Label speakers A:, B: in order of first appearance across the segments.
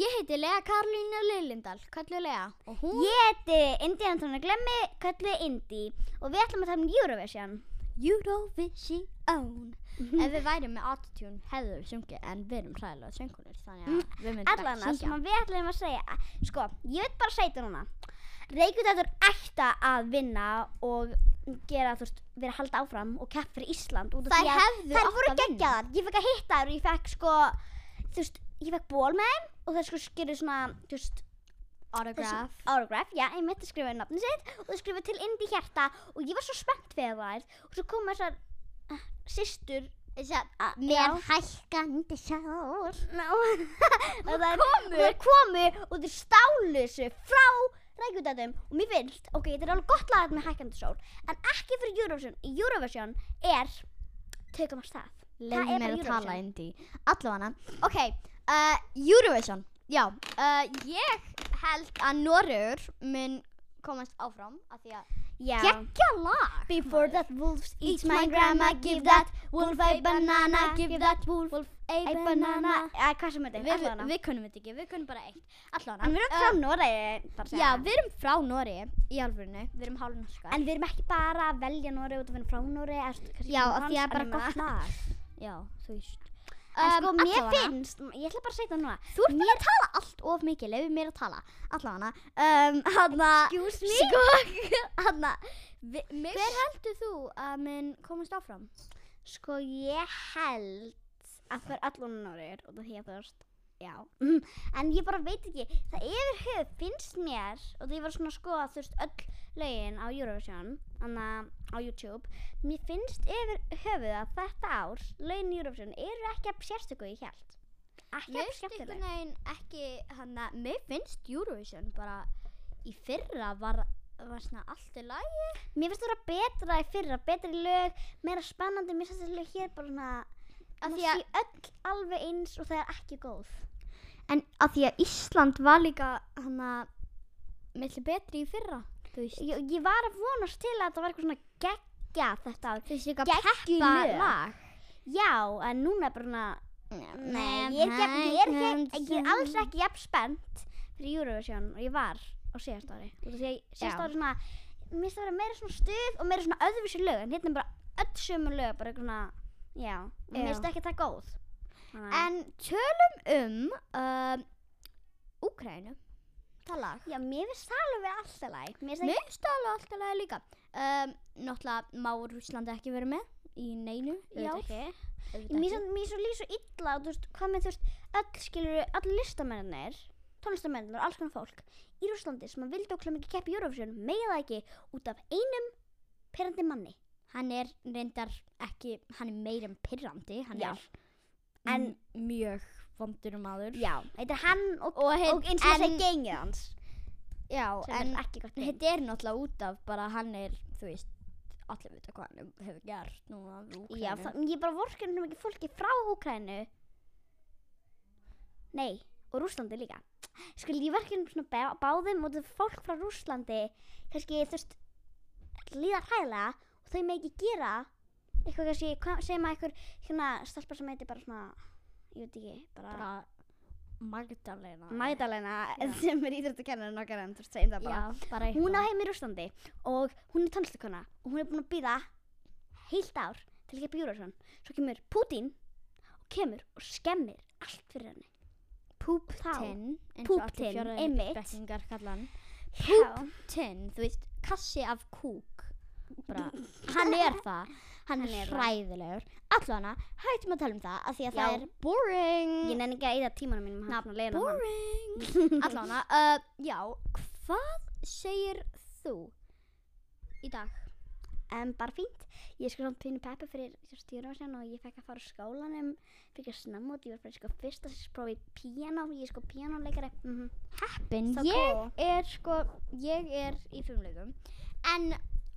A: heiti Lea Karolína Lillindal, kallu Lea. Og hún?
B: Ég heiti Indi Antona Glemmi, kallu Indi og við ætlum að tala um Eurovision.
A: Eurovision.
B: Hm. Mhm.
A: Ef við værum með autotune hefur við sungið en við erum hræðilega söngunir þannig að við myndum
B: Hm. Allan það sem að við ætlum að segja, sko, ég veit bara að segja þetta núna. Reykjavík ætti að vinna og gera, þú veist, vera að halda áfram og kepp fyrir Ísland. út af
A: Þær
B: því að
A: hefðu
B: Þær
A: átt
B: voru
A: að vinna.
B: geggjaðar, ég fekk að hitta þær og ég fekk sko, þú veist, ég fekk ból með þeim og þær sko skeru svona, þú veist,
A: Autograph.
B: Autograph, já, ég mitt að skrifa nafni sitt og þau skrifa til Indi Hjarta og ég var svo spennt fyrir þær og svo koma þessar uh, systur
A: Þessi,
B: já.
A: með hækkandi sál.
B: no. og þær
A: komu.
B: þær komu og þau stálu þessu frá rækjúdatum og mér finnst, ok, þetta er alveg gott lagat með hækkandi sól en ekki fyrir Eurovision, Í Eurovision er tökum á stað
A: Leif mér
B: er bara
A: að tala
B: Eurovision.
A: indi. Allavega, ok, uh, Eurovision, já, uh, ég held að Norur mun komast áfram af því að
B: Já.
A: geggja lag.
B: Before
A: maður.
B: that wolf eats my grandma, give that wolf a banana, give that wolf
A: a
B: a banana
A: banana.
B: Eða hvað sem þetta er,
A: Við,
B: allavega
A: við kunnum þetta ekki, við kunnum bara eitt. Allavega.
B: En við erum frá Noregi, bara að segja
A: Já,
B: það.
A: við erum frá Nóri í alvörinu, við erum hálfnorskar.
B: En við erum ekki bara að velja Noregi út af henni frá Noregi eða svona kannski
A: Já,
B: frá
A: af því
B: hans,
A: að bara
B: en
A: gott
B: hérna-
A: lag. Já, þú veist.
B: En
A: Um,
B: sko, mér
A: allavega.
B: finnst, ég ætla bara að segja það núna
A: Þú ert mér... að tala allt of mikið, leiðu mér að tala. Allavega, um, hann að...
B: Excuse
A: Sko, hann að... Hver heldur þú að minn komast áfram?
B: Sko, ég held að það er allan Noregur út af því að það er Já, Mm, en ég bara veit ekki, það yfir höf finnst mér og því ég var svona að skoða þú veist öll lögin á Eurovision, annað á YouTube, mér finnst yfir höfuð að þetta ár, lögin í Eurovision, eru ekki að sérstöku ég held. Ekki
A: Mér
B: að
A: finnst einhvern
B: skemmtileg.
A: veginn ekki, hann að... Mér finnst Eurovision bara í fyrra var, var svona allt í lagi.
B: Mér finnst það vera betra í fyrra, betri lög, meira spennandi, mér finnst þessi lög hér bara svona,
A: Af
B: að
A: því
B: því
A: að-
B: öll alveg eins og það er ekki góð.
A: En að því að Ísland var líka, hann að... Millir betri í fyrra, þú veist.
B: Ég, ég var að vonast til að það var eitthvað svona geggja þetta ár.
A: Þú veist, líka
B: Geggjuð
A: peppa
B: lög.
A: lag.
B: Já, en núna er bara svona Nei, ég er, ekki, ég, er ekki, ég er alls ekki jafn spennt fyrir Eurovision og ég var á síðast ári. Út af Því að ég- síðast
A: Já.
B: ári svona, mér finnst það vera meira svona stuð og meira svona öðruvísi lög, en hérna er bara öll sömu lög, bara eitthvað svona, já, og
A: Já.
B: mér finnst ekki það góð. Þannig að-
A: En tölum um um, Úkrænu Það lag
B: já, mér finnst það alveg vera alltaf læg. Mér finnst það
A: Mér stöðla alltaf lag líka um, Náttúrulega má Rússlandi ekki verið með Í neinu í
B: Auðvitað
A: ár Auðvitað
B: Mér
A: ekki.
B: finnst- mér finnst svo líka svo illa og þú veist, hvað með þú veist, öll skilur, öll listamennir, tónlistamennir og alls konar fólk í Rúslandi sem að vildi okkur mikið keppi í Eurovision, megi það ekki út af einum perandi manni.
A: Hann er reyndar ekki Hann er meira en pirrandi Hann
B: Já.
A: er
B: En-
A: m- mjög vondur maður
B: Já. Þetta er hann og,
A: Og,
B: og eins og þessi
A: en-
B: gengið hans.
A: Já,
B: Sem
A: en
B: er ekki gott geng.
A: Þetta er náttúrulega út af bara hann er, þú veist, allir vita hvað hann hefur gert núna við Úkraínu.
B: Já, það, ég bara vorkar um ekki fólki frá Úkrænu. Nei, og Rúslandi líka. Skil, ég verkar um svona bá- báðum og það fólk frá Rúslandi, kannski þú veist, líða hræðilega og þau með ekki gera eitthvað kannski, hvað segir maður eitthvað hérna stelpa sem heitir bara svona, ég veit ekki, bara, bara.
A: bara Magdalena.
B: Magdalena
A: Já.
B: sem er íþjóttakennarinn okkar en þú veist, segjum það bara.
A: Já, bara eitthvað.
B: hún á heim í Rúslandi og hún er tónlistakona og hún er búin að býða heilt ár til að keppa Júrasson svo kemur Putin og kemur og skemmir allt fyrir henni
A: Púptinn, eins og allir
B: Púptinn,
A: fjóraðir
B: einmitt.
A: brekkingar kalla hann.
B: Já.
A: Púptinn, þú veist, kassi af kúk. Bara, hann er það, hann
B: Hann er
A: er
B: það.
A: hræðilegur. Allavega, hættum að tala um það, af því að það
B: Já.
A: er boring.
B: ég nenni ekki að eða tímanum mínum hann að leiðina hann
A: boring. Allavega, uh, já, hvað segir þú í dag?
B: en bara fínt, ég skil samt pínu peppi fyrir Júrasson og ég fekk að fara úr skólanum fyrir snemma og ég var bara sko fyrsta sem prófi piano, ég er sko pianoleikari mm -hmm.
A: Heppin,
B: So
A: ég
B: cool.
A: er sko, ég er í fimmleikum En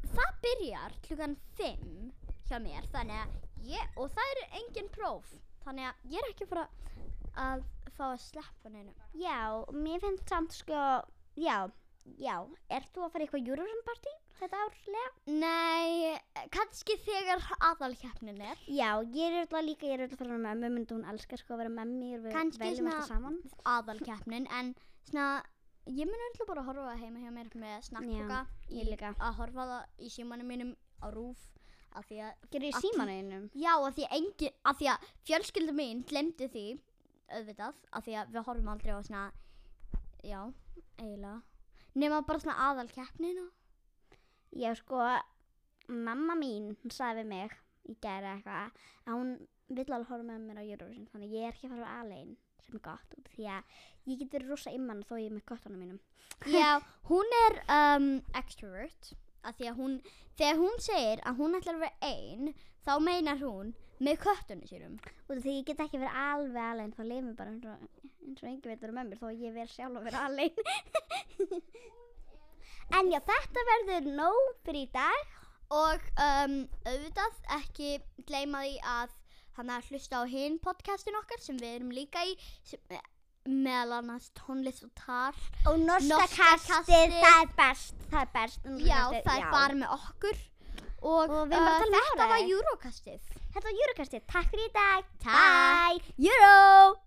A: það byrjar klukkan fimm hjá mér Þannig að ég, og það eru engin próf Þannig að ég er ekki bara að fá að sleppa neinu
B: já, mér finnst samt sko já, já, ert þú að fara í eitthvað Júrasson partí? þetta árlega?
A: Nei, kannski þegar aðalkeppnin er.
B: Já, ég er alltaf líka, ég er alltaf farin með mömmu, myndi hún elskar sko að vera með mér, við
A: Kannski
B: veljum
A: svona-
B: alltaf saman.
A: aðalkeppnin en svona, ég mun öll bara að horfa heima hjá mér með snakkboka
B: Já, ég
A: í-
B: líka.
A: að horfa það í símanum mínum á rúf af því að
B: Gerðu í
A: Allt-
B: símanu einum?
A: já, af því, engi, af því að fjölskylda mín glemdi því auðvitað af því að við horfum aldrei á svona já, eiginlega nema bara svona aðalkeppnina
B: Já, sko, mamma mín, hún sagði við mig í gæra eitthvað að hún vill alveg horfa með mér á Eurovision þannig ég er ekki að fara alein sem er gott út af því að ég get verið rosa imman þó ég er með gottunum mínum
A: já, hún er um, extrovert af því að hún, þegar hún segir að hún ætlar að vera ein þá meinar hún með köttunni sérum
B: út af því ég get ekki verið alveg alein þá leið mér bara eins og, eins og engin veit verið með mér þó ég verið sjálf að vera alein en já, þetta verður nóg fyrir í dag
A: og um, auðvitað ekki gleyma því að hann að hlusta á hinn podcastin okkar sem við erum líka í sem, meðal annars tónlist og tal
B: og norska
A: Norska
B: kastið,
A: kastið.
B: það er best það er best
A: já, það er bara með okkur og, uh,
B: Og við erum bara að tala um
A: þetta var
B: Noreg.
A: Eurocastið
B: þetta var Júrakastið, takk fyrir í dag
A: Takk.
B: Bye.
A: Euro!